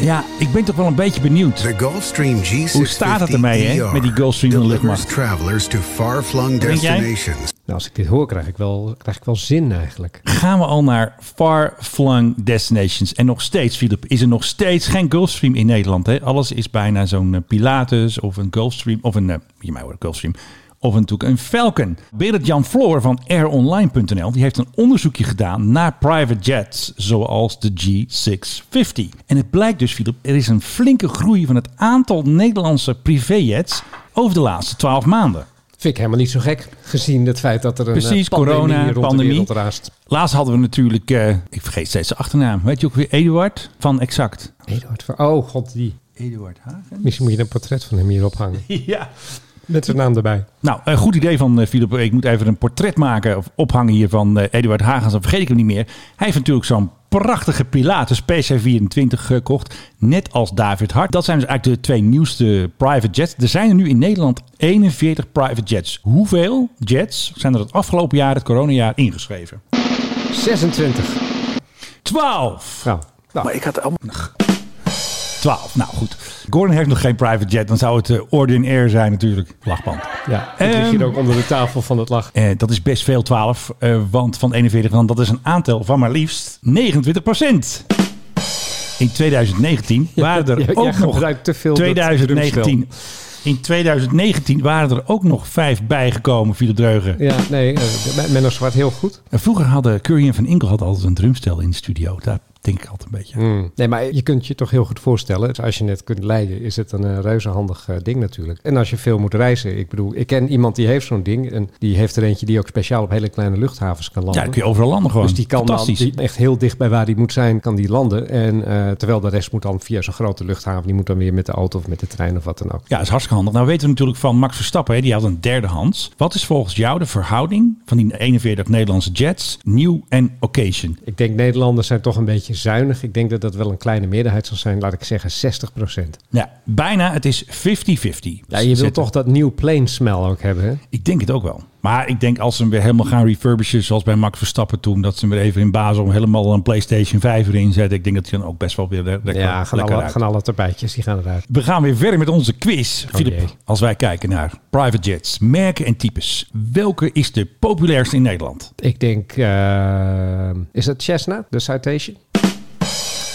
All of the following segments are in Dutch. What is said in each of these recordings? Ja, ik ben toch wel een beetje benieuwd. The Gulfstream G650 Hoe staat het ermee, hè, met die Gulfstream in de E delivers luchtmacht? travelers to far-flung Denk jij? destinations. Nou, als ik dit hoor, krijg ik wel, krijg ik wel zin eigenlijk. Gaan we al naar far-flung destinations. En nog steeds, Philip, is er nog steeds geen Gulfstream in Nederland. Hè? Alles is bijna zo'n eh, Pilatus of een Gulfstream. Of een, eh, je mij hoort Gulfstream. Of natuurlijk een Falcon. Berend Jan Floor van aironline.nl die heeft een onderzoekje gedaan naar private jets zoals de G650. En het blijkt dus, Philip, er is een flinke groei van het aantal Nederlandse privéjets over de laatste 12 maanden. Vind ik helemaal niet zo gek, gezien het feit dat er een eh, Precies, pandemie corona, rond pandemie. de wereld raast. Laatst hadden we natuurlijk, eh, ik vergeet steeds zijn achternaam, weet je ook weer, Eduard van Exact. Eduard van- oh god, die. Eduard Hagen? Misschien moet je een portret van hem hier ophangen. Ja. Met zijn naam erbij. Nou, eh, goed idee van eh, Philip. Ik moet even een portret maken of ophangen hier van eh, Eduard Hagens, dan vergeet ik hem niet meer. Hij heeft natuurlijk zo'n prachtige Pilatus PC24 gekocht, net als David Hart. Dat zijn dus eigenlijk de twee nieuwste private jets. Er zijn er nu in Nederland 41 private jets. Hoeveel jets zijn er het afgelopen jaar, het coronajaar, ingeschreven? 26. 12! Nou, nou, Maar ik had allemaal... 12. Nou goed. Gordon heeft nog geen private jet. Dan zou het eh, ordinair zijn natuurlijk. Lachband. ja, het ligt hier Ehm. ook onder de tafel van het lach. Eh, dat is best veel 12. eh, want van 41 dan dat is een aantal van maar liefst 29 In 2019 waren er jij- jij ook nog... gebruikt te veel dat 2019. In 2019 waren er ook nog vijf bijgekomen, Philip Dreugen. Ja, nee, eh, Men- Menno Zwart heel goed. En Vroeger hadden Curry en Van Inkel hadden altijd een drumstel in de studio. Daar denk ik altijd een beetje aan. Nee, maar je kunt je toch heel goed voorstellen. Dus als je net kunt leiden, is het een eh, reuze handig eh, ding natuurlijk. En als je veel moet reizen. Ik bedoel, ik ken iemand die heeft zo'n ding. En die heeft er eentje die ook speciaal op hele kleine luchthavens kan Ja, landen. dan kun je overal landen gewoon. Dus die kan dan Fantastisch. die echt heel dicht bij waar die moet zijn, kan die landen. En eh, terwijl de rest moet dan via zo'n grote luchthaven. Die moet dan weer met de auto of met de trein of wat dan Ja, ook. dat is hartstikke handig. Nou weten we natuurlijk van Max Verstappen, hè, die had een derde hands. Wat is volgens jou de verhouding van die 41 Nederlandse jets, nieuw en occasion? Ik denk Nederlanders zijn toch een beetje zuinig. Ik denk dat dat wel een kleine meerderheid zal zijn. Laat ik zeggen 60 Nou, bijna, het is 50-50. Ja, je Zetten. wilt toch dat nieuw plane smell ook hebben. Hè? Ik denk het ook wel. Maar ik denk als ze hem weer helemaal gaan refurbishen, zoals bij Max Verstappen toen, dat ze hem weer even in Basel helemaal een PlayStation 5 erin zetten. Ik denk dat hij dan ook best wel weer le- lekker, Ja, gaan lekker alle, uit. gaan alle tapijtjes, die gaan eruit. We gaan weer verder met onze quiz, Filip. jee. Als wij kijken naar private jets, merken en types. Welke is de populairste in Nederland? Ik denk, eh, is dat Cessna, de Citation?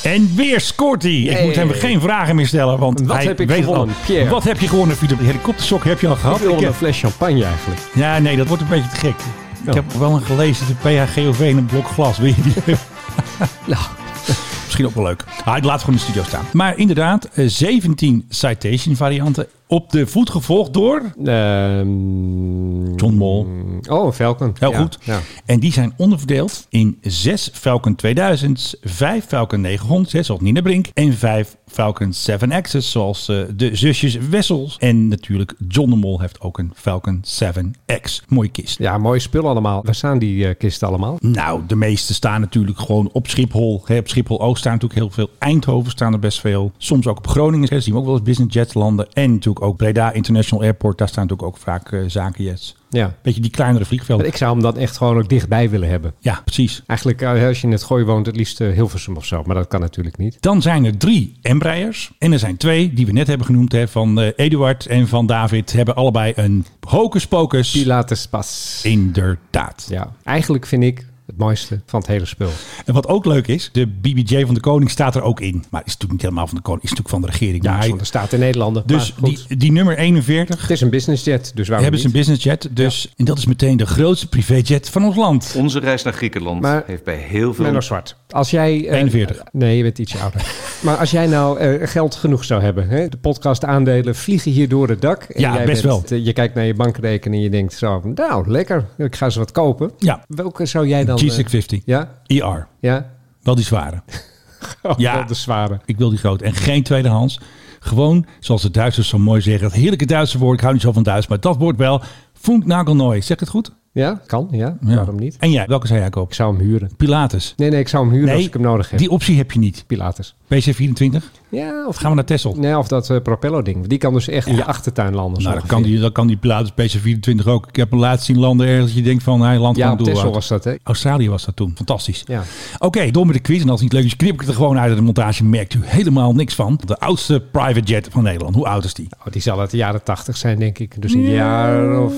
En weer scoort hij. Ik Yay. moet hem geen vragen meer stellen, want Wat hij heb ik weet het gewonnen, al. Pierre? Wat heb je gewonnen, Philip? De helikoptersok heb je al Ik gehad. wil Ik een heb- fles champagne eigenlijk. Ja, nee, dat wordt een beetje te gek. Ik Oh. heb wel een gelezen, de PHGOV in een blok glas. Wil je die? Nou, Misschien ook wel leuk. Ah, ik laat het gewoon in de studio staan. Maar inderdaad, eh, 17 citation varianten. Op de voet gevolgd door ehm, John Mol. Oh, een Falcon. Heel Ja, goed. ja. En die zijn onderverdeeld in 6 Falcon 2000, 5 Falcon 900, hè, zoals Nina Brink, en 5 Falcon 7 Axis, zoals eh, de zusjes Wessels. En natuurlijk John de Mol heeft ook een Falcon 7X. Mooie kist. Ja, mooi spul allemaal. Waar staan die eh, kisten allemaal? Nou, de meeste staan natuurlijk gewoon op Schiphol. Hè. Op Schiphol Oost staan natuurlijk heel veel. Eindhoven staan er best veel. Soms ook op Groningen. Hè. Zien we ook wel eens business jets landen. En natuurlijk ook Breda International Airport. Daar staan natuurlijk ook vaak eh, zakenjets. Ja. Beetje die kleinere Maar vliegvelden. ik zou hem dan echt gewoon ook dichtbij willen hebben. Ja, precies. Eigenlijk, eh, als je in het gooi woont, het liefst eh, Hilversum of zo. Maar dat kan natuurlijk niet. Dan zijn er drie Embraers. En er zijn twee die we net hebben genoemd. Hè, van eh, Eduard en van David. Hebben allebei een hocus pocus. Pilatus pas. Inderdaad. Ja, eigenlijk vind ik het mooiste van het hele spul. En wat ook leuk is. De BBJ van de koning staat er ook in. Maar is natuurlijk niet helemaal van de koning. Is natuurlijk van de regering. Ja, Maar is hij- van de staat in Nederland. dus maar goed. die, die nummer 41. het is een businessjet, dus waarom hebben ze niet? een businessjet. Dus, En dat is meteen de grootste privéjet van ons land. Onze reis naar Griekenland Maar- heeft bij heel veel... Menno Zwart. Als jij, eh, 41. Nee, je bent ietsje ouder. maar als jij nou eh, geld genoeg zou hebben, hè, de podcast aandelen vliegen hier door het dak. En Ja, jij best wel. eh, je kijkt naar je bankrekening en je denkt zo, nou lekker, ik ga ze wat kopen. Ja, Welke zou jij dan... eh, G650. ja? IR. Ja? E Wel die zware. Ja. Oh, Wel de zware. Ik wil die groot. En geen tweedehands. Gewoon, zoals de Duitsers zo mooi zeggen. Het heerlijke Duitse woord. Ik hou niet zo van Duits. Maar dat woord wel. Funknagelnooi. Zeg het goed? Ja, kan, ja. Ja. Waarom niet? En jij, welke zou jij kopen? Ik zou hem huren. Pilatus. Nee, nee, ik zou hem huren Nee, als ik hem nodig heb. Die optie heb je niet. Pilatus. PC24? Ja, Of gaan we naar Tesla? Nee, of dat eh, Propello-ding. Die kan dus echt in je achtertuin landen. zo Nou, dan ongeveer. kan, die, dan kan die Pilatus PC24 ook. Ik heb hem laatst zien landen ergens. dat Je denkt van, hij landt Ja, gewoon op door. Tesla was dat, hè? Australië was dat toen. Fantastisch. Ja. Oké, door met de quiz. En als het niet leuk is, knip ik het er gewoon uit uit de montage. Merkt u helemaal niks van. De oudste private jet van Nederland. Hoe oud is die? Oh, die zal uit de jaren 80 zijn, denk ik. Dus een jaar of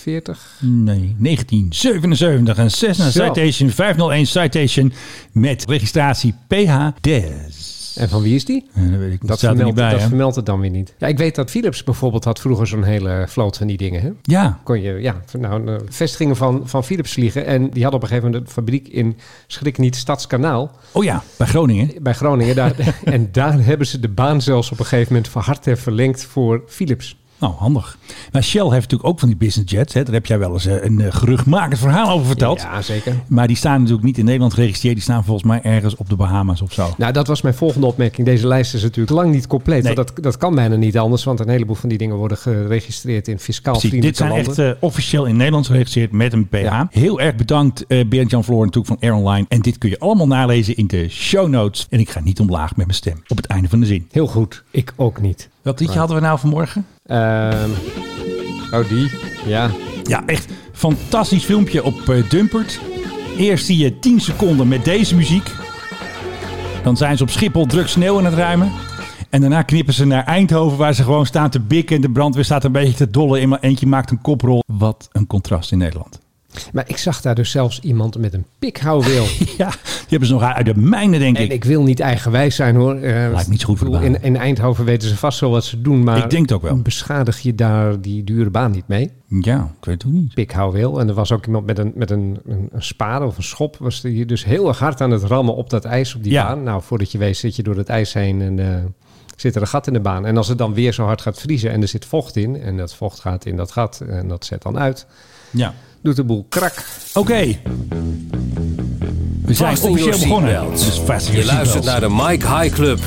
40. Nee, 1977. Een Cessna Zo. Citation 501 Citation met registratie PH-DES. En van wie is die? Eh, Dat weet ik niet. Dat, Dat staat er niet vermeldt, bij, dat hè? vermeldt het dan weer niet. Ja, ik weet dat Philips bijvoorbeeld had vroeger zo'n hele vloot van die dingen. Hè? Ja, Kon je, ja, nou, eh, vestigingen van, van Philips vliegen. En die hadden op een gegeven moment een fabriek in, schrik niet, Stadskanaal. oh ja, bij Groningen. bij Groningen. Daar, en daar hebben ze de baan zelfs op een gegeven moment verhard en verlengd voor Philips. Nou, handig. Maar Shell heeft natuurlijk ook van die business jets. Hè? Daar heb jij wel eens eh, een eh, geruchtmakend verhaal over verteld. Ja, zeker. Maar die staan natuurlijk niet in Nederland geregistreerd. Die staan volgens mij ergens op de Bahama's of zo. Nou, dat was mijn volgende opmerking. Deze lijst is natuurlijk lang niet compleet. Nee. Want dat, dat kan bijna niet anders, want een heleboel van die dingen worden geregistreerd in fiscaal Precies, dit vriendelijke zijn landen. echt eh, officieel in Nederland geregistreerd met een PH. Ja. Heel erg bedankt eh Berend-Jan Floor natuurlijk van Air Online. En dit kun je allemaal nalezen in de show notes. En ik ga niet omlaag met mijn stem op het einde van de zin. Heel goed. Ik ook niet. Wat liedje hadden we nou vanmorgen? Ehm, oh, die. Ja. Ja, echt fantastisch filmpje op eh, Dumpert. Eerst zie je 10 seconden met deze muziek. Dan zijn ze op Schiphol druk sneeuw aan het ruimen. En daarna knippen ze naar Eindhoven, waar ze gewoon staan te bikken. En de brandweer staat een beetje te dollen. En maar eentje maakt een koprol. Wat een contrast in Nederland. Maar ik zag daar dus zelfs iemand met een pikhouweel. Ja, die hebben ze nog uit de mijnen, denk en ik. ik wil niet eigenwijs zijn, hoor. Eh, Lijkt niet zo goed voor de ik bedoel, baan. in, in Eindhoven weten ze vast wel wat ze doen, maar... Ik denk het ook wel. Beschadig je daar die dure baan niet mee? Ja, ik weet het ook niet. pikhouweel. En er was ook iemand met een, met een, een, een spade of een schop. Was die dus heel erg hard aan het rammen op dat ijs op die Ja. baan. Nou, voordat je weet zit je door het ijs heen en eh, zit er een gat in de baan. En als het dan weer zo hard gaat vriezen en er zit vocht in. En dat vocht gaat in dat gat en dat zet dan uit. Ja. Doet de boel krak. Oké. We zijn Fasten officieel your begonnen. seatbelts. Dus vast Je luistert naar de Mike High Club.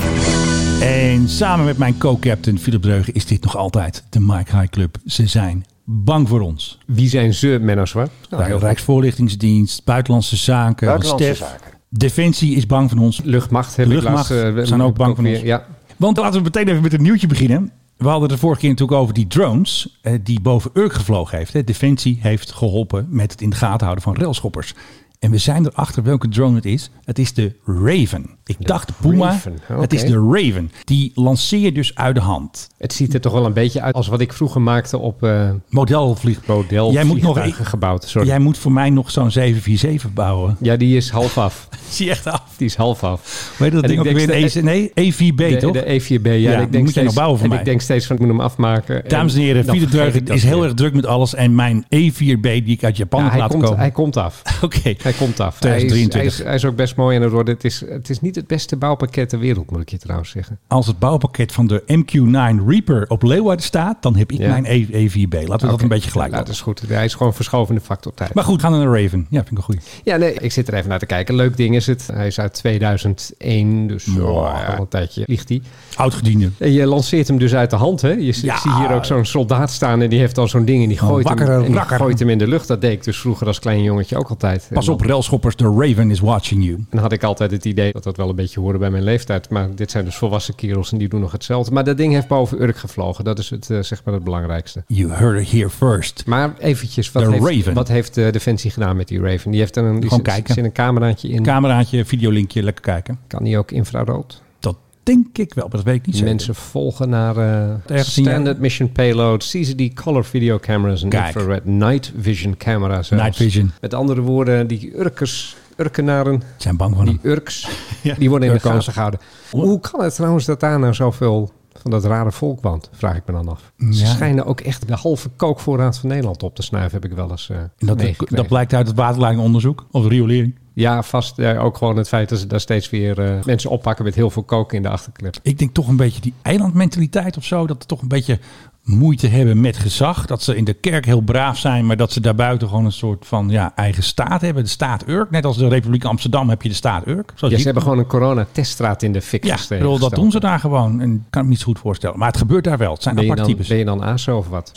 En samen met mijn co-captain Philip Dreugen is dit nog altijd de Mike High Club. Ze zijn bang voor ons. Wie zijn ze, Menno Zwart? Nou, Nou, Rijksvoorlichtingsdienst, Buitenlandse Zaken, Buitenlandse Stef. zaken. Defensie is bang van ons. Luchtmacht heb Luchtmacht ik laatst, eh, zijn ook bang voor weer- ons. Ja. Want laten we meteen even met een nieuwtje beginnen. We hadden het de vorige keer natuurlijk over die drones eh, die boven Urk gevlogen heeft. Hè. Defensie heeft geholpen met het in de gaten houden van railschoppers. En we zijn erachter welke drone het is. Het is de Raven. Ik dacht de Puma. Raven, oké. Het is de Raven. Die lanceer je dus uit de hand. Het ziet er toch wel een beetje uit als wat ik vroeger maakte op eh Modelvlieg. model Jij moet nog- e- vliegtuigen gebouwd. Sorry. Jij moet voor mij nog zo'n 747 bouwen. Ja, die is half af. Zie je echt af. Die is half af. Weet je dat En ding ik ook denk weer? E ste- Een nee, E4B de, toch? de E4B, ja. Ja, en moet ik je denk nog steeds, bouwen voor en mij. ik denk steeds van, ik moet hem afmaken. En Dames en heren, dan Philip vergeet ik Dreugen dat is heel weer. erg druk met alles. En mijn E4B die ik uit Japan Ja, heb hij, laten komt, komen. hij komt af. Oké. Hij komt af. Hij is, hij, 2023. is, hij is ook best mooi aan het worden. Het is, het is niet het beste bouwpakket ter wereld, moet ik je trouwens zeggen. Als het bouwpakket van de MQ9 Reaper op Leeuwarden staat, dan heb ik Ja. mijn E- E4B. Laten we dat Oké. een beetje gelijk Ja, dat laten. is goed. Hij is gewoon verschovende factor tijd. Maar goed, gaan we naar de Raven. Ja, vind ik een goeie. ja, nee, ik zit er even naar te kijken. Leuk ding is het. Hij is uit 2001, dus Ja. oh, al een tijdje ligt hij. Oudgediende. En je lanceert hem dus uit de hand, hè? Je, Ja. Ik zie hier ook zo'n soldaat staan en die heeft al zo'n ding en die Een gooit, hem, wakkere en die rakker. gooit hem in de lucht. Dat deed ik dus vroeger als klein jongetje ook altijd. Pas En op, railschoppers, de Raven is watching you. En had ik altijd het idee dat dat wel een beetje hoorde bij mijn leeftijd. Maar dit zijn dus volwassen kerels en die doen nog hetzelfde. Maar dat ding heeft boven Urk gevlogen. Dat is het, eh, zeg maar het belangrijkste. You heard it here first. Maar eventjes, wat De heeft, Raven. wat heeft eh, Defensie gedaan met die Raven? Die heeft er een, die Gewoon zit- kijken. zit een cameraatje in. Cameraatje, videolinkje, lekker kijken. kan die ook infrarood? Dat denk ik wel, maar dat weet ik niet zeker. Mensen volgen naar eh Ergens in je- standard mission payload, CCD color video cameras en Kijk. infrared night vision camera's. zelfs. Night vision. Met andere woorden, die Urkers, Urkenaren, Zijn bang van Die hem. Urks, Ja, die worden in de Urko's. gaten gehouden. Hoe kan het trouwens dat daar nou zoveel van dat rare volk woont? Vraag ik me dan af. Ze Ja. schijnen ook echt de halve kookvoorraad van Nederland op te snuiven, heb ik wel eens eh En Dat, meegekregen. dat blijkt uit het waterleidingonderzoek of de riolering. Ja, vast eh, ook gewoon het feit dat ze daar steeds weer eh, mensen oppakken met heel veel koken in de achterklep. Ik denk toch een beetje die eilandmentaliteit of zo. Dat ze toch een beetje moeite hebben met gezag. Dat ze in de kerk heel braaf zijn, maar dat ze daarbuiten gewoon een soort van ja, eigen staat hebben. De staat Urk. Net als de Republiek Amsterdam heb je de staat Urk. Zoals Ja, hier. ze hebben gewoon een coronateststraat in de fik ja, ik gestegen. bedoel, dat gesteld. doen ze daar gewoon. En ik kan het me niet zo goed voorstellen. Maar het gebeurt daar wel. Het zijn Ben je, aparte dan, types. ben je dan ASO of wat?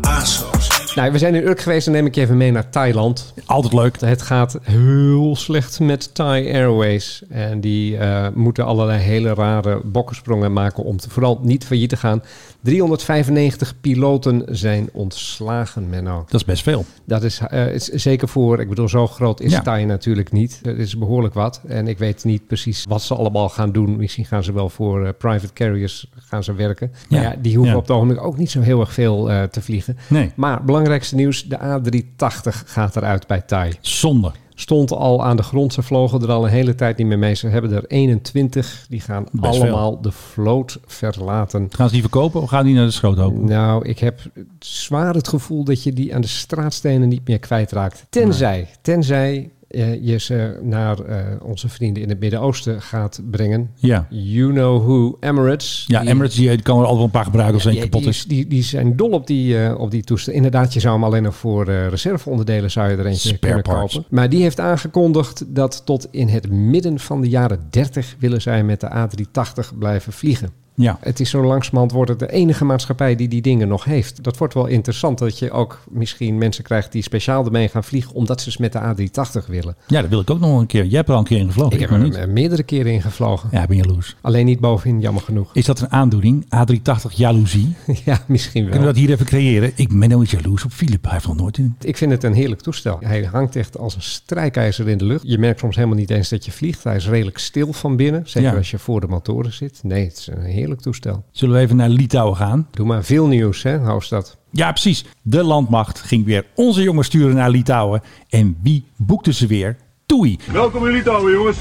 ASO's. Nou, we zijn in Urk geweest, dan neem ik je even mee naar Thailand. Altijd leuk. Het gaat heel slecht met Thai Airways. En die eh, moeten allerlei hele rare bokkensprongen maken om te, vooral niet failliet te gaan. 395 piloten zijn ontslagen, Menno. Dat is best veel. Dat is, eh, is zeker voor, ik bedoel, zo groot is Ja. Thai natuurlijk niet. Het is behoorlijk wat. En ik weet niet precies wat ze allemaal gaan doen. Misschien gaan ze wel voor eh, private carriers gaan ze werken. Maar Ja. ja, die hoeven Ja. op het ogenblik ook niet zo heel erg veel eh, te vliegen. Nee. Maar belangrijkste nieuws, de A380 gaat eruit bij Thai Zonde. stond al aan de grond. Ze vlogen er al een hele tijd niet meer mee. Ze hebben er 21. Die gaan Best allemaal de vloot verlaten. Gaan ze die verkopen of gaan die naar de schroothoop? Nou, ik heb zwaar het gevoel dat je die aan de straatstenen niet meer kwijtraakt. Tenzij, tenzij eh, je ze naar eh, onze vrienden in het Midden-Oosten gaat brengen. Ja. You know who, Emirates. Ja, Die- Emirates die, die kan er altijd wel een paar gebruiken als ja, één die- kapot die, is. Die, die zijn dol op die, eh, op die toestel. Inderdaad, je zou hem alleen nog voor eh, reserveonderdelen zou je er eentje Spare kunnen parts. kopen. Maar die heeft aangekondigd dat tot in het midden van de jaren 30 willen zij met de A380 blijven vliegen. Ja. Het is zo langzamerhand wordt het de enige maatschappij die die dingen nog heeft. Dat wordt wel interessant dat je ook misschien mensen krijgt die speciaal ermee gaan vliegen omdat ze eens met de A380 willen. ja, dat wil ik ook nog wel een keer. Jij hebt er al een keer in gevlogen. Ik heb nog er niet. eh, meerdere keren in gevlogen. Ja, ik ben jaloers. Alleen niet bovenin, jammer genoeg. Is dat een aandoening? A380 jaloezie? ja, misschien wel. Kunnen we dat hier even creëren? Ik ben nooit jaloers op Philip. Hij heeft nog nooit in. Ik vind het een heerlijk toestel. Hij hangt echt als een strijkijzer in de lucht. Je merkt soms helemaal niet eens dat je vliegt. Hij is redelijk stil van binnen. Zeker Ja. als je voor de motoren zit. Nee, het is een heerlijk toestel. Zullen we even naar Litouwen gaan? Doe maar veel nieuws, hè, hoofdstad. Ja, precies. De landmacht ging weer onze jongens sturen naar Litouwen. En wie boekte ze weer? Toei. Welkom in Litouwen, jongens.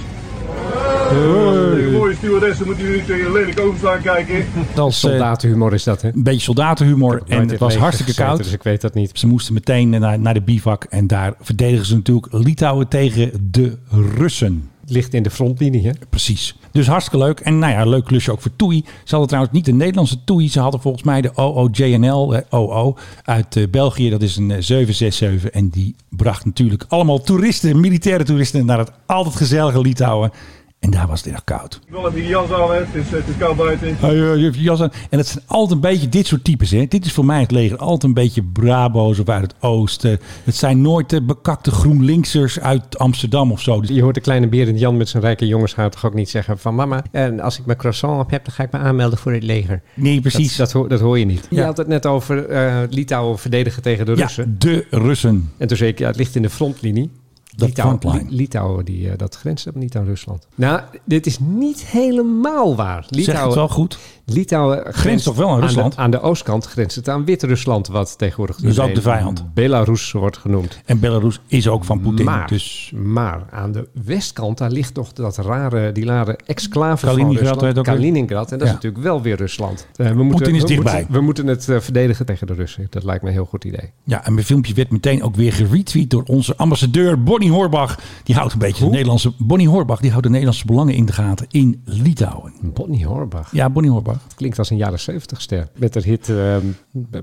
Tegen mooie stewardessen moeten jullie niet tegen lelijk over aan kijken. Dan soldatenhumor is dat, hè? eh, Een beetje soldatenhumor. En het was hartstikke koud. Dus ik weet dat niet. Ze moesten meteen eh, naar, naar de bivak. En daar verdedigen ze natuurlijk Litouwen tegen de Russen. Het ligt in de frontlinie, hè? Precies. Dus hartstikke leuk. En nou ja, leuk klusje ook voor Toei. Ze hadden trouwens niet de Nederlandse Toei. Ze hadden volgens mij de OOJNL, eh, OO, uit eh, België. Dat is een eh, 767. En die bracht natuurlijk allemaal toeristen, militaire toeristen, naar het altijd gezellige Litouwen. En daar was het erg koud. Ik wil even die jas aan, hè. Het is, eh, het is koud buiten. Hey, eh, je hebt je jas aan. En het zijn altijd een beetje dit soort types. Hè. Dit is voor mij het leger. Altijd een beetje Brabo's of uit het oosten. Het zijn nooit de bekakte GroenLinksers uit Amsterdam of zo. Dus Je hoort de kleine berend Jan met zijn rijke jongenshaar toch ook niet zeggen van... Mama, en als ik mijn croissant op heb, dan ga ik me aanmelden voor het leger. nee, precies. Dat, dat, hoor, dat hoor je niet. Ja. Je had het net over eh, Litouwen verdedigen tegen de Russen. ja, de Russen. En toen zei ik, ja, het ligt in de frontlinie. De Litouwen, frontline. Li- Litouwen, die, eh, dat grenst helemaal niet aan Rusland. Nou, dit is niet helemaal waar. Zeg het Litouwen, wel goed. Litouwen grenst, toch wel aan Rusland? de, aan de oostkant grenst het aan Wit-Rusland, wat tegenwoordig Dus ook doorheen de vijand. Belarus wordt genoemd. En Belarus is ook van Poetin. Maar, Dus maar aan de westkant, daar ligt toch dat rare, die rare exclave Kaliningrad, van heet Rusland. ook weer. Kaliningrad. En dat Ja. is natuurlijk wel weer Rusland. Eh, we moeten, Poetin is we dichtbij. Moeten, we moeten het eh, verdedigen tegen de Russen. Dat lijkt me een heel goed idee. ja, en mijn filmpje werd meteen ook weer geretweet door onze ambassadeur Bonnie Horbach. Die houdt een beetje de Nederlandse. Bonnie Horbach die houdt de Nederlandse belangen in de gaten in Litouwen. Bonnie Horbach. Ja, Bonnie Horbach. Klinkt als een jaren 70 ster. Met haar hit ehm,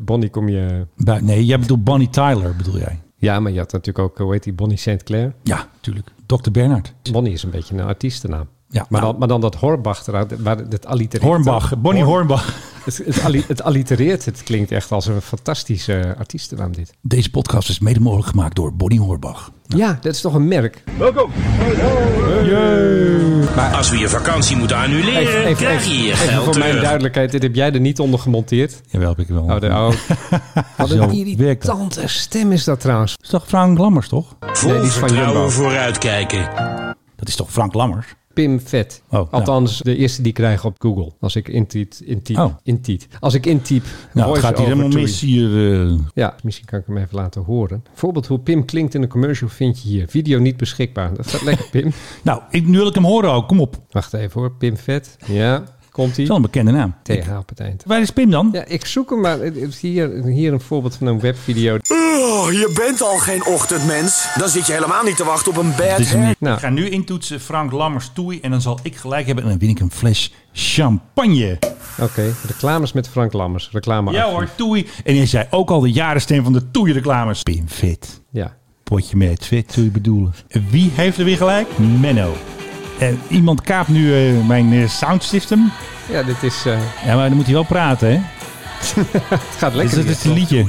Bonnie kom je... Bui- Nee, jij bedoelt Bonnie Tyler, bedoel jij? Ja, maar je had natuurlijk ook, eh, hoe heet die, Bonnie St. Clair. Ja, natuurlijk. Dr. Bernard. Bonnie is een beetje een artiestennaam. Ja, maar, nou- dan, maar dan dat Horbach eruit, waar het allitereert. Hornbach. Bonnie Horn- Hornbach. Het, het, alli- het allitereert, het klinkt echt als een fantastische eh, artiestennaam dit. Deze podcast is mede mogelijk gemaakt door Bonnie Horbach. Ja, dat is toch een merk. Welkom. Als we je vakantie moeten annuleren, krijg je je even geld voor mijn terug. duidelijkheid, dit heb jij er niet onder gemonteerd. Jawel, heb ik wel. Oh, de, oh. Wat Zo een werkt dat. irritante stem is dat trouwens. is toch Frank Lammers, toch? Vol Nee, die is van Jumbo. vertrouwen vooruitkijken. Dat is toch Frank Lammers? Pim Vet. Oh, nou. Althans, de eerste die ik krijg op Google. Als ik intiet, intiet, Oh. intiet. Als ik intyp. Nou, het voice gaat hier over helemaal Toei. mis hier. eh. Ja, misschien kan ik hem even laten horen. Bijvoorbeeld hoe Pim klinkt in een commercial vind je hier. Video niet beschikbaar. Dat gaat lekker, Pim. Nou, ik, nu wil ik hem horen ook. Kom op. Dat Wacht even hoor, Pim Vet. Ja, komt is ie. wel een bekende naam. TH op het eind. Waar is Pim dan? Ja, ik zoek hem maar. Het is Hier, hier een voorbeeld van een webvideo. Oh, je bent al geen ochtendmens. Dan zit je helemaal niet te wachten op een bad Dit is hem hair. niet. Nou. Ik ga nu intoetsen Frank Lammers Toei en dan zal ik gelijk hebben en dan win ik een fles champagne. Oké, reclames met Frank Lammers. Reclame. Ja hoor, Toei. En hij zei ook al de jarenstem van de Toei reclames. Pim Fit. Ja. Potje met fit, zul je bedoelen. Wie heeft er weer gelijk? Menno. Eh, iemand kaapt nu eh, mijn eh, sound system. Ja, dit is... eh, Ja, maar dan moet hij wel praten, hè? het gaat Dus lekker. dat is het liedje.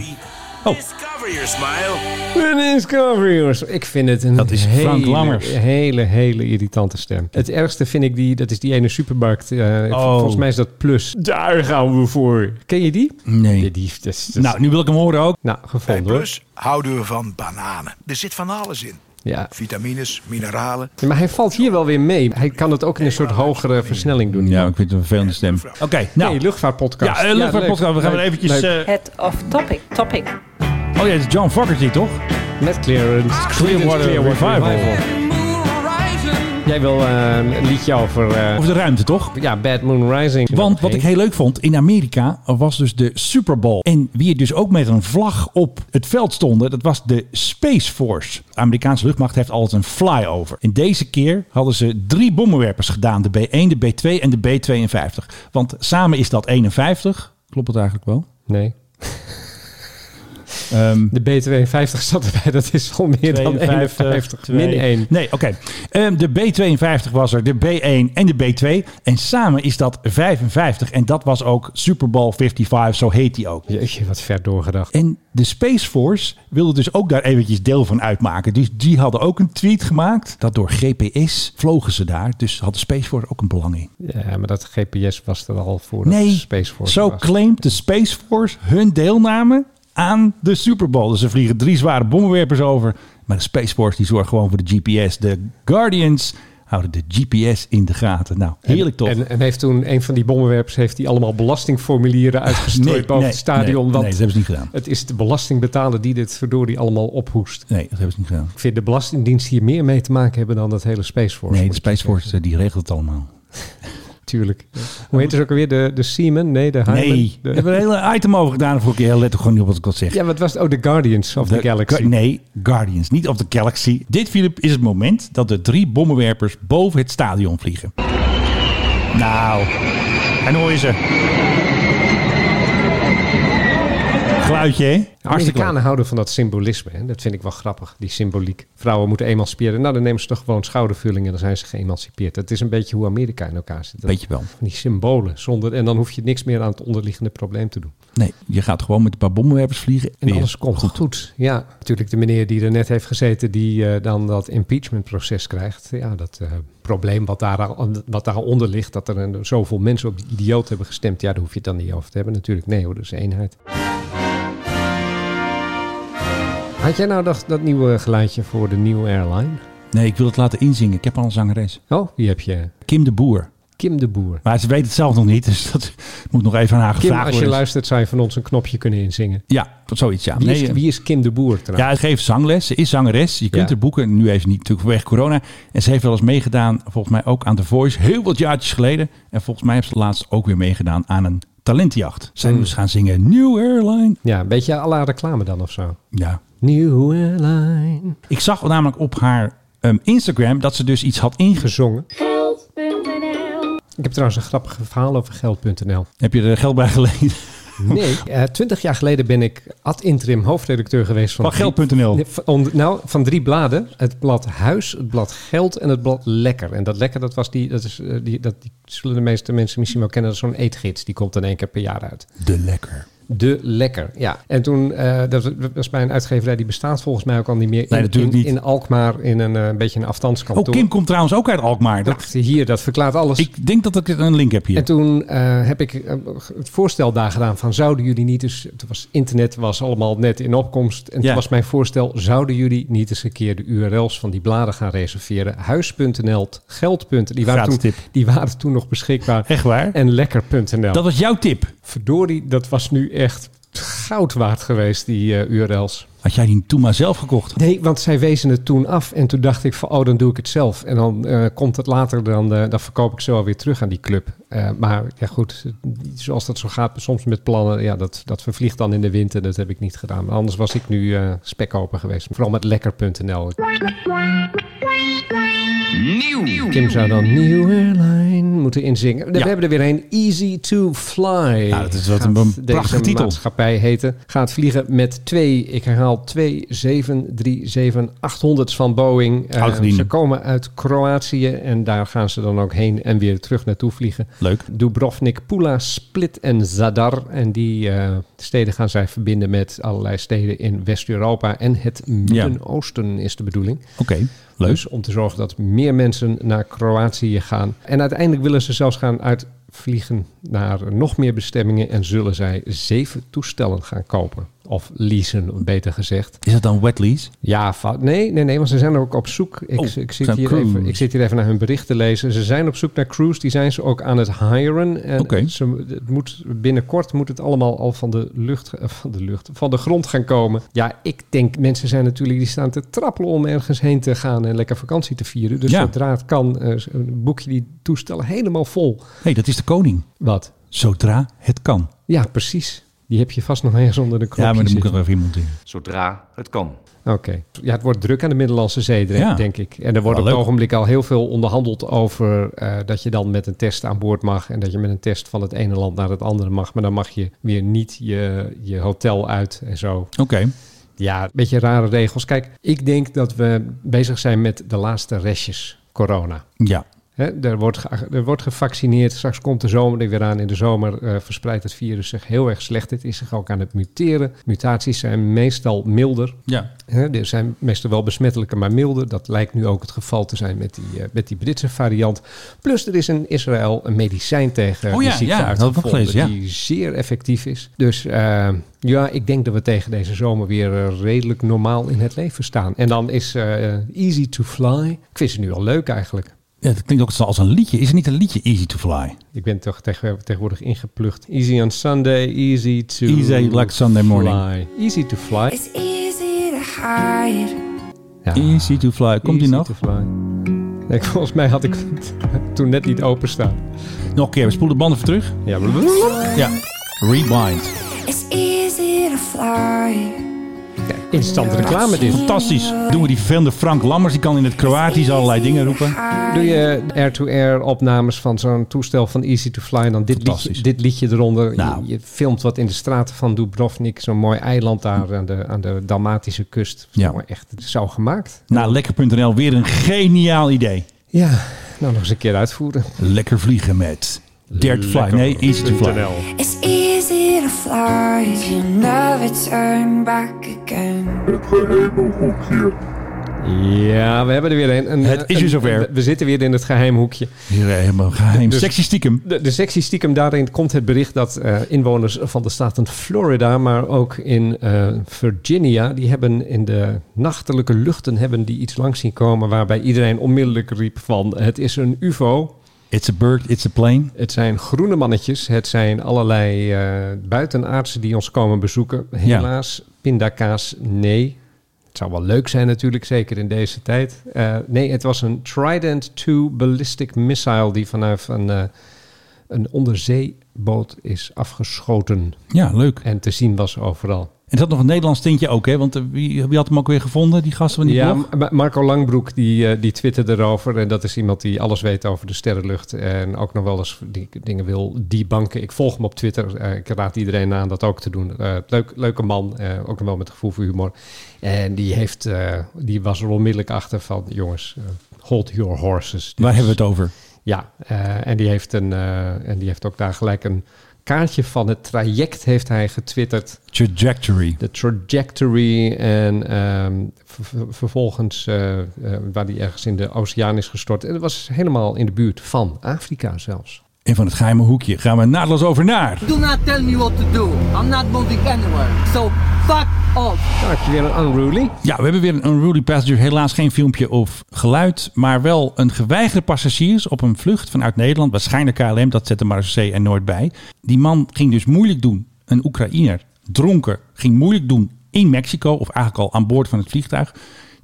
Oh, Cover your smile. Dennis Cavaliers. Ik vind het een Dat is hele, Frank Lammers. hele, hele irritante stem. Het ergste vind ik die, dat is die ene supermarkt. eh, v- Oh. Volgens mij is dat Plus. Daar gaan we voor. Ken je die? Nee. Ja, die dat is- dat is- Nou, nu wil ik hem horen ook. nou, En gevonden hoor. plus houden we van bananen. Er zit van alles in. Ja. Vitamines, mineralen. Maar hij valt hier wel weer mee. Hij kan het ook in een soort hogere versnelling doen. Ja, ik vind het een vervelende stem. Oké, nou. hey, luchtvaartpodcast. Ja, eh, luchtvaartpodcast. leuk. we gaan Leuk, weer eventjes... leuk. eh, Het off topic. Topic. oh ja, het is John Fogerty, toch? Met Clearance. Ah. Clearwater Revival. Jij wil eh, een liedje over... eh, Over de ruimte, toch? ja, Bad Moon Rising. Want wat ik heel leuk vond, in Amerika was dus de Super Bowl. En wie er dus ook met een vlag op het veld stonden, dat was de Space Force. De Amerikaanse luchtmacht heeft altijd een flyover. En deze keer hadden ze drie bommenwerpers gedaan: de B1, de B2 en de B52. Want samen is dat 51. Klopt dat eigenlijk wel? Nee. Ehm, De B52 zat erbij, dat is al meer dan 51. Min 1. Nee, oké. Ehm, de B52 was er, de B1 en de B2. En samen is dat 55. En dat was ook Super Bowl 55, zo heet die ook. Jeetje, wat ver doorgedacht. En de Space Force wilde dus ook daar eventjes deel van uitmaken. Dus die hadden ook een tweet gemaakt. Dat door GPS vlogen ze daar. Dus had de Space Force ook een belang in. Ja, maar dat GPS was er al voor Nee, de Space Force zo was. claimt de Space Force hun deelname aan de Super Bowl. Dus er vliegen drie zware bommenwerpers over. Maar de Space Force die zorgt gewoon voor de GPS. De Guardians houden de GPS in de gaten. Nou, heerlijk toch? En, en heeft toen een van die bommenwerpers heeft die allemaal belastingformulieren uitgestrooid Nee, boven nee, het stadion. nee, want nee, dat hebben ze niet gedaan. Het is de belastingbetaler die dit verdorie allemaal ophoest. nee, dat hebben ze niet gedaan. Ik vind de Belastingdienst hier meer mee te maken hebben dan dat hele Space Force. Nee, de moet ik Space Force eh, die regelt het allemaal. zeggen. Tuurlijk. Hoe heet het ook alweer? De, de Seaman? Nee, de Hyman? Nee, we De- hebben een hele item over gedaan. Vorige keer let ik gewoon niet op wat ik wil zeggen. ja, wat was het? Oh, de Guardians of the De- Galaxy. Gu- Eh, Nee, Guardians, niet of the Galaxy. Dit, Philip, is het moment dat de drie bommenwerpers boven het stadion vliegen. Nou, en hoor je ze. Geluidje, hè? Hartstikke leuk. Amerikanen houden van dat symbolisme. Hè? Dat vind ik wel grappig, die symboliek. Vrouwen moeten emanciperen. Nou, dan nemen ze toch gewoon schoudervulling en dan zijn ze geëmancipeerd. Dat is een beetje hoe Amerika in elkaar zit. Dat- Weet je wel. Van die symbolen. Zonder, en dan hoef je niks meer aan het onderliggende probleem te doen. Nee, je gaat gewoon met een paar bommenwerpers vliegen. En Weer. alles komt goed. Ja, natuurlijk de meneer die er net heeft gezeten... die eh, dan dat impeachmentproces krijgt. Ja, dat eh, probleem wat, daar, wat daaronder ligt... dat er een, zoveel mensen op die idioot hebben gestemd... ja, daar hoef je het dan niet over te hebben natuurlijk. Nee hoor, dat is eenheid. Had jij nou dat, dat nieuwe geluidje voor de nieuwe airline? Nee, ik wil het laten inzingen. Ik heb al een zangeres. Oh, die heb je. Kim de Boer. Kim de Boer. Maar ze weet het zelf nog niet, dus dat moet nog even aan haar Kim, gevraagd als je worden. luistert, zou je van ons een knopje kunnen inzingen. Ja, zoiets, ja. Wie, Nee, is, eh, wie is Kim de Boer trouwens? Ja, ze geeft zangles. Ze is zangeres. Je kunt Ja. er boeken. Nu even niet, natuurlijk vanwege corona. En ze heeft wel eens meegedaan, volgens mij ook aan The Voice. Heel wat jaartjes geleden. En volgens mij heeft ze laatst ook weer meegedaan aan een talentjacht. Zijn dus gaan zingen New Airline. Ja, een beetje à la reclame dan of zo. Ja. New Airline. Ik zag namelijk op haar ehm, Instagram dat ze dus iets had ingezet. Gezongen. Ik heb trouwens een grappig verhaal over geld.nl. Heb je er geld bij geleend? Nee, Eh, twintig jaar geleden ben ik ad interim hoofdredacteur geweest van... Van Geld.nl. Nee, van- om- nou, van drie bladen. Het blad Huis, het blad Geld en het blad Lekker. En dat Lekker, dat was die... Dat, is, eh, die, dat die zullen de meeste mensen misschien wel kennen. Dat is zo'n eetgids. Die komt dan één keer per jaar uit. De lekker. De Lekker, ja. En toen, eh dat was bij een uitgeverij, die bestaat volgens mij ook al niet meer. In, Nee, natuurlijk in, niet. in Alkmaar, in een eh, beetje een afstandskantoor. Oh, Kim komt trouwens ook uit Alkmaar. Dat, Nou, hier, dat verklaart alles. ik denk dat ik een link heb En hier. toen eh, heb ik eh, het voorstel daar gedaan van zouden jullie niet eens... Het was, internet was allemaal net in opkomst. En Ja. toen was mijn voorstel, zouden jullie niet eens een keer de URL's van die bladen gaan reserveren? Huis.nl, geld.nl, die, waren Gratis toen- tip. die waren toen nog beschikbaar. Echt waar? En lekker.nl. Dat was jouw tip. Verdorie, dat was nu echt goud waard geweest, die eh, URL's. Had jij die toen maar zelf gekocht? Nee, want zij wezen het toen af. En toen dacht ik van, oh, dan doe ik het zelf. En dan eh, komt het later, dan, eh, dan verkoop ik zo weer terug aan die club. Eh, maar ja, goed, zoals dat zo gaat, soms met plannen, ja, dat, dat vervliegt dan in de wind. En dat heb ik niet gedaan. Maar anders was ik nu eh spekkoper geweest. Vooral met lekker.nl. Kim zou dan New Airline moeten inzingen. We Ja. hebben er weer een. Easy to Fly. Nou, dat is wat een Gaat prachtige deze titel. maatschappij heten. Gaat vliegen met twee, ik herhaal, twee 737 800's van Boeing. Eh, Oudgediende. ze komen uit Kroatië en daar gaan ze dan ook heen en weer terug naartoe vliegen. Leuk. Dubrovnik, Pula, Split en Zadar. En die eh, steden gaan zij verbinden met allerlei steden in West-Europa. En het Midden-Oosten is de bedoeling. Oké, leuk. Dus om te zorgen dat meer mensen naar Kroatië gaan. En uiteindelijk willen ze zelfs gaan uitvliegen naar nog meer bestemmingen. En zullen zij zeven toestellen gaan kopen. Of leasen, beter gezegd. Is dat dan wet lease? Ja, va- nee, nee, nee, want ze zijn ook op zoek. Ik, Oh, ik, zijn zit hier crews. even, ik zit hier even naar hun bericht te lezen. Ze zijn op zoek naar crews, die zijn ze ook aan het hiren. En Oké. ze, het moet, binnenkort moet het allemaal al van de, lucht, eh, van de lucht, van de grond gaan komen. Ja, ik denk, mensen zijn natuurlijk, die staan te trappelen om ergens heen te gaan en lekker vakantie te vieren. Dus Ja. zodra het kan, eh, boek je die toestellen helemaal vol. Hé, hey, dat is de koning. Wat? Zodra het kan. Ja, precies. Die heb je vast nog ergens onder de knopje ja, maar dan moet zitten. ik er even iemand in. zodra het kan. Oké. Ja, het wordt druk aan de Middellandse Zee, denk- Ja. denk ik. En er wordt Wel op het leuk. ogenblik al heel veel onderhandeld over eh, dat je dan met een test aan boord mag. En dat je met een test van het ene land naar het andere mag. Maar dan mag je weer niet je, je hotel uit en zo. Oké, Ja, een beetje rare regels. Kijk, ik denk dat we bezig zijn met de laatste restjes corona. ja. Hè, er, wordt ge- er wordt gevaccineerd. Straks komt de zomer er weer aan. In de zomer eh, verspreidt het virus zich heel erg slecht. Het is zich ook aan het muteren. Mutaties zijn meestal milder. Ja, Hè, er zijn meestal wel besmettelijke, maar milder. Dat lijkt nu ook het geval te zijn met die, eh, met die Britse variant. Plus er is in Israël een medicijn tegen Oh die ja, ziekte ja, dat had ik ook uitgevonden... gelezen, ja. die zeer effectief is. Dus eh, ja, ik denk dat we tegen deze zomer weer eh, redelijk normaal in het leven staan. En dan is eh, Easy to Fly... Ik vind ze nu al leuk eigenlijk. Ja, dat klinkt ook zo als een liedje. Is het niet een liedje Easy to Fly? Ik ben toch tegen- tegenwoordig ingeplucht. Easy on Sunday, easy to Easy like Sunday morning. fly. Easy to fly. It's easy to hide. Ja. Easy to Fly. Komt die Easy nog? to fly. Nee, volgens mij had ik het toen net niet openstaan. Nog een keer, we spoelen de banden even terug. Ja, Ja, Rebind. It's easy to fly. instant reclame dit. Fantastisch. Doen we die vervelende Frank Lammers, die kan in het Kroatisch allerlei dingen roepen. Doe je air-to-air opnames van zo'n toestel van Easy to Fly en dan dit liedje, Fantastisch. dit liedje eronder. Je- Nou. Je, filmt wat in de straten van Dubrovnik, zo'n mooi eiland daar aan de, aan de Dalmatische kust. Ja. Nou, echt, het zou gemaakt. Nou, lekker.nl, weer een geniaal idee. Ja, nou nog eens een keer uitvoeren. Lekker vliegen met Dirt Fly. Nee, Easy to Fly. It's easy to fly. You never turn back again. Ja, we hebben er weer een. een Het is een- weer zover. een- We zitten weer in het geheim hoekje. Hier eh, helemaal geheim. Dus- Sexy stiekem. De, de sectie stiekem daarin komt het bericht dat eh, inwoners van de staten Florida, maar ook in eh, Virginia, die hebben in de nachtelijke luchten hebben die iets langs zien komen waarbij iedereen onmiddellijk riep van het is een UFO. It's a bird, it's a plane. Het zijn groene mannetjes, het zijn allerlei eh buitenaardsen die ons komen bezoeken. Helaas, pindakaas, nee. Het zou wel leuk zijn natuurlijk, zeker in deze tijd. Eh, nee, het was een Trident II ballistic missile die vanaf een, eh, een onderzeeboot is afgeschoten. Ja, leuk. En te zien was overal. En dat nog een Nederlands tintje ook, hè? Want eh, wie, wie had hem ook weer gevonden, die gasten van die Ja, blog? Ma- Marco Langbroek die, eh, die twitterde erover. En dat is iemand die alles weet over de sterrenlucht. En ook nog wel eens die dingen wil debanken. Ik volg hem op Twitter. Eh, ik raad iedereen aan dat ook te doen. Eh, leuk, leuke man. eh, ook nog wel met gevoel voor humor. En die, heeft, eh, die was er onmiddellijk achter van... Jongens, eh, hold your horses. Dit Waar is- hebben we het over? ja, eh, en, die heeft een, eh, en die heeft ook daar gelijk een kaartje van het traject heeft hij getwitterd Trajectory. de trajectory en ehm, ver- ver- vervolgens eh, eh, waar die ergens in de oceaan is gestort. En dat was helemaal in de buurt van Afrika zelfs. En van het geheime hoekje gaan we naadloos over naar... Do not tell me what to do. I'm not moving anywhere. So fuck off. Nou, heb je weer een unruly. Ja, we hebben weer een Unruly Passenger. Helaas geen filmpje of geluid, maar wel een geweigerde passagiers op een vlucht vanuit Nederland. Waarschijnlijk KLM, dat zette Marseille er nooit bij. Die man ging dus moeilijk doen, een Oekraïner, dronken, ging moeilijk doen in Mexico. Of eigenlijk al aan boord van het vliegtuig.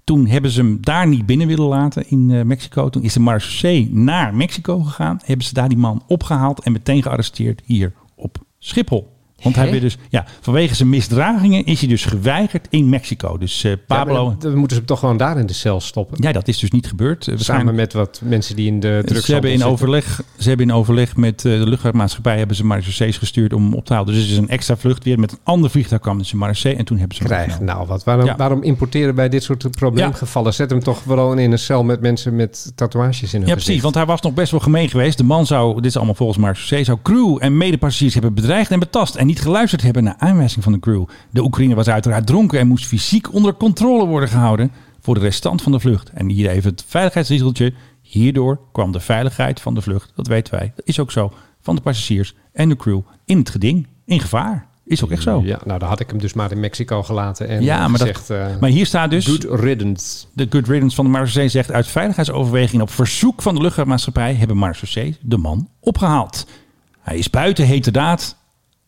Toen hebben ze hem daar niet binnen willen laten in eh, Mexico. Toen is de Marseille naar Mexico gegaan. Hebben ze daar die man opgehaald en meteen gearresteerd hier op Schiphol. Want hij weer dus, ja, vanwege zijn misdragingen is hij dus geweigerd in Mexico. Dus eh, Ja, Pablo, maar dan moeten ze hem toch gewoon daar in de cel stoppen. ja, dat is dus niet gebeurd. Eh, Samen met wat mensen die in de drugs Ze hebben, in overleg, ze hebben in overleg met eh, de luchtvaartmaatschappij hebben ze Marseille's gestuurd om hem op te halen. Dus het is een extra vlucht weer met een ander vliegtuig kwam dus in Marseille en toen hebben ze hem krijgen. opgenomen. Nou, wat, waarom, Ja. waarom importeren wij dit soort probleemgevallen? Zet hem toch vooral in een cel met mensen met tatoeages in hun Ja, gezicht. precies, want hij was nog best wel gemeen geweest. De man zou, dit is allemaal volgens Marseille, zou crew en medepassagiers hebben bedreigd en betast en niet geluisterd hebben naar aanwijzing van de crew. De Oekraïne was uiteraard dronken en moest fysiek onder controle worden gehouden voor de restant van de vlucht. En hier even het veiligheidsrieseltje. Hierdoor kwam de veiligheid van de vlucht, dat weten wij, dat is ook zo, van de passagiers en de crew in het geding, in gevaar. Is ook echt zo. Ja, nou, daar had ik hem dus maar in Mexico gelaten en Ja, maar, gezegd... dat, eh, maar hier staat dus... Good riddance. De Good Riddance van de Marseillais zegt... uit veiligheidsoverwegingen op verzoek van de luchtvaartmaatschappij... hebben Marseillais de man opgehaald. Hij is buiten hete daad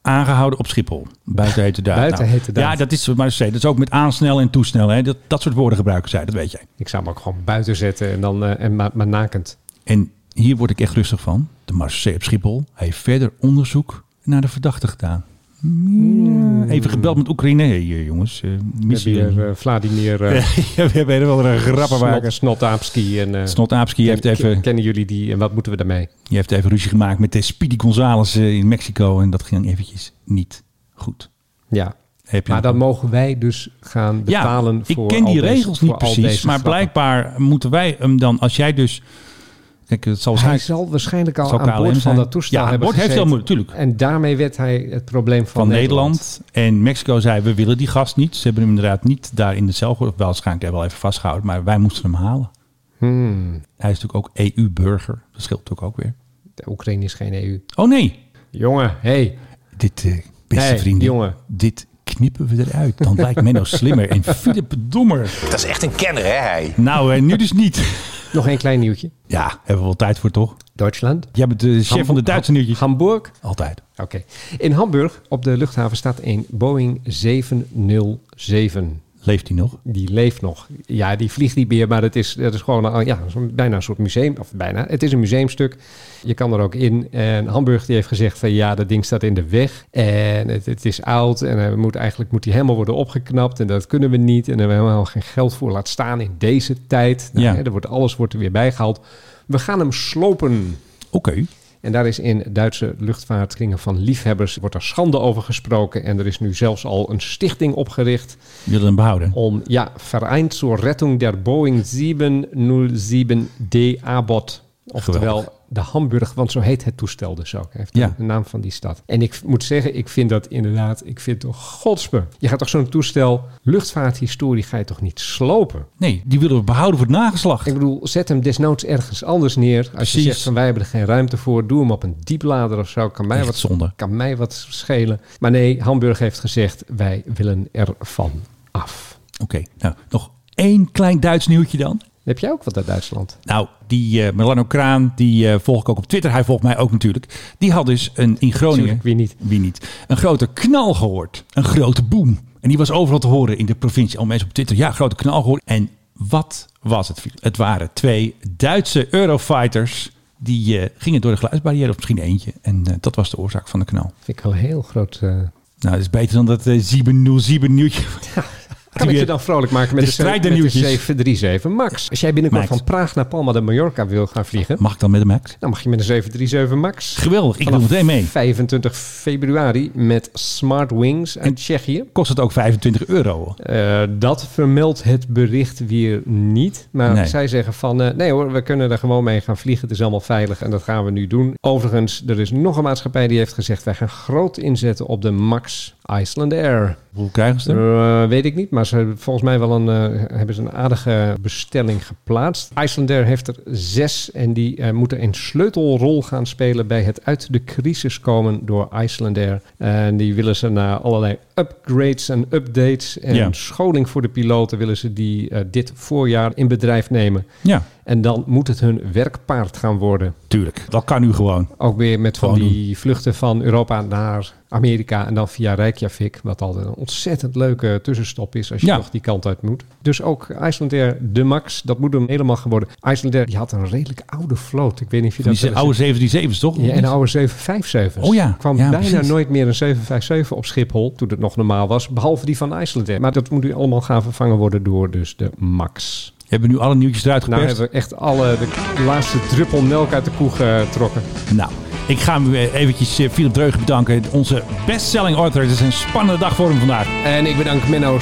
aangehouden op Schiphol. Buiten hete daad. Nou, Buiten hete daad. Ja, dat is Marseille. Dat is ook met aansnellen en toesnellen. Hè. Dat, dat soort woorden gebruiken zij, dat weet jij. Ik zou hem ook gewoon buiten zetten en dan eh, en maar, maar nakend. En hier word ik echt rustig van. De Marseille op Schiphol heeft verder onderzoek naar de verdachte gedaan. Ja, Even gebeld met Oekraïne. Hey, eh, jongens, eh, We hebben missie... hier eh, Vladimir eh Ja, we hebben wel een Snot, grappenwaker. Snotaapski. En, eh, Snotaapski heeft ken- even... Kennen jullie die en wat moeten we daarmee? Je heeft even ruzie gemaakt met de Speedy Gonzales eh, in Mexico. En dat ging eventjes niet goed. Ja. Heb je Maar nog- dan mogen wij dus gaan betalen ik voor ken al die deze- regels voor niet al precies. deze Maar grappen. blijkbaar moeten wij hem dan, als jij dus... Kijk, het zal Hij waarschijnlijk zal waarschijnlijk al Zal aan KLM boord zijn? van dat toestel Ja, aan hebben boord heeft hij al gezeten. moeten, tuurlijk. En daarmee werd hij het probleem van, van Nederland. En Mexico zei, we willen die gast niet. Ze hebben hem inderdaad niet daar in de cel gehoord. Wel, waarschijnlijk hebben we wel even vastgehouden. Maar wij moesten hem halen. Hmm. Hij is natuurlijk ook EU-burger. Dat scheelt natuurlijk ook weer. De Oekraïne is geen EU. Oh nee, Jongen, hey. Dit, eh, beste Hey, vrienden, jongen. dit knippen we eruit. Dan lijkt Menno slimmer en Philip dommer. Dat is echt een kenner, hè, hij? Nou, eh, nu dus niet. Nog één klein nieuwtje. Ja, hebben we wel tijd voor, toch? Duitsland. Jij bent de chef van de Hamburg- Duitse nieuwtjes. Hamburg. Altijd. Oké. In Hamburg op de luchthaven staat een Boeing 707. Leeft hij nog? Die leeft nog. Ja, die vliegt niet meer, maar het is, het is gewoon een, ja, zo'n- bijna een soort museum. Of bijna. Het is een museumstuk. Je kan er ook in. En Hamburg die heeft gezegd van ja, dat ding staat in de weg. En het, het is oud. En hij moet, eigenlijk moet die helemaal worden opgeknapt. En dat kunnen we niet. En daar hebben we helemaal geen geld voor. Laat staan in deze tijd. Nou, Ja. hè, er wordt, alles wordt er weer bijgehaald. We gaan hem slopen. Oké. En daar is in Duitse luchtvaartkringen van liefhebbers wordt daar schande over gesproken. En er is nu zelfs al een stichting opgericht Willen hem behouden? om ja, Verein zur Rettung der Boeing 707D Abot. Oftewel de Hamburg, want zo heet het toestel dus ook. Hij heeft Ja. de naam van die stad. En ik moet zeggen, ik vind dat inderdaad, ik vind toch godspe. Je gaat toch zo'n toestel, luchtvaarthistorie ga je toch niet slopen? Nee, die willen we behouden voor het nageslacht. Ik bedoel, zet hem desnoods ergens anders neer. Als Precies. je zegt van wij hebben er geen ruimte voor, doe hem op een dieplader of zo. Kan mij, Echt wat, zonde. kan mij wat schelen. Maar nee, Hamburg heeft gezegd wij willen ervan af. Oké, nou, nog één klein Duits nieuwtje dan. Heb jij ook wat uit Duitsland? Nou, die eh Milano Kraan, die eh, volg ik ook op Twitter. Hij volgt mij ook natuurlijk. Die had dus een, in Groningen... Tuurlijk, wie niet? Wie niet. Een grote knal gehoord. Een grote boom. En die was overal te horen in de provincie. Al mensen op Twitter. Ja, grote knal gehoord. En wat was het? Filip? Het waren twee Duitse Eurofighters. Die eh, gingen door de geluidsbarrière. Of misschien eentje. En eh, dat was de oorzaak van de knal. Vind ik wel een heel groot... eh, Nou, dat is beter dan dat eh 707 nieuwtje. eh, Kan ik je dan vrolijk maken met de de, ze- met de strijdernieuwtjes. 737 MAX? Als jij binnenkort Max. van Praag naar Palma de Mallorca wil gaan vliegen... Mag ik dan met de Max? dan mag je met een 737 MAX. Geweldig, ik doe Vanaf meteen mee. 25 februari met Smart Wings uit En- Tsjechië. Kost het ook 25 euro? Eh, dat vermeldt het bericht weer niet. Maar Nee. zij zeggen van eh, nee hoor, we kunnen er gewoon mee gaan vliegen. Het is allemaal veilig en dat gaan we nu doen. Overigens, er is nog een maatschappij die heeft gezegd wij gaan groot inzetten op de Max Iceland Air. Hoe krijgen ze het? Eh, weet ik niet, maar ze hebben volgens mij wel een, eh, hebben ze een aardige bestelling geplaatst. Iceland Air heeft er zes en die eh, moeten een sleutelrol gaan spelen bij het uit de crisis komen door Iceland Air. En die willen ze na allerlei upgrades en updates en Ja. scholing voor de piloten willen ze die eh, dit voorjaar in bedrijf nemen. Ja, En dan moet het hun werkpaard gaan worden. tuurlijk. Dat kan nu gewoon. Ook weer met van Gewoon die vluchten van Europa naar Amerika en dan via Reykjavik, wat altijd een ontzettend leuke tussenstop is als je Ja. toch die kant uit moet. Dus ook Iceland Air de Max, dat moet hem helemaal geworden. Iceland Air, die had een redelijk oude vloot. Ik weet niet of je dat... Die wel eens- oude 737's toch? ja, en de oude 757. Oh ja, Er kwam ja, bijna precies. nooit meer een 757 op Schiphol, toen het nog normaal was. Behalve die van Iceland Air. Maar dat moet nu allemaal gaan vervangen worden door dus de Max. Hebben we nu alle nieuwtjes eruit Nou geperst? hebben we echt alle de laatste druppel melk uit de koe getrokken. Nou, ik ga hem weer eventjes eh, Philip Dreugen bedanken. Onze bestselling author. Het is een spannende dag voor hem vandaag. En ik bedank Menno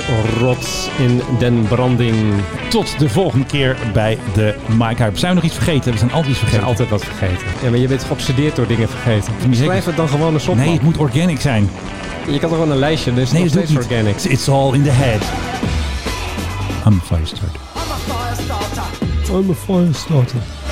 Zwart-Rot in Den Branding. Tot de volgende keer bij de Mike Hype. Zijn we nog iets vergeten? We zijn altijd iets Ik ben vergeten. altijd wat vergeten. Ja, maar je bent geobsedeerd door dingen vergeten. Niet zeker. Schrijf het dan gewoon eens op. Nee, man. het moet organic zijn. Je kan toch gewoon een lijstje, dus Nee, het dat is nog doet steeds niet. organic. It's- It's all in the head. I'm a firestarter. I'm a fire starter. I'm a fire starter.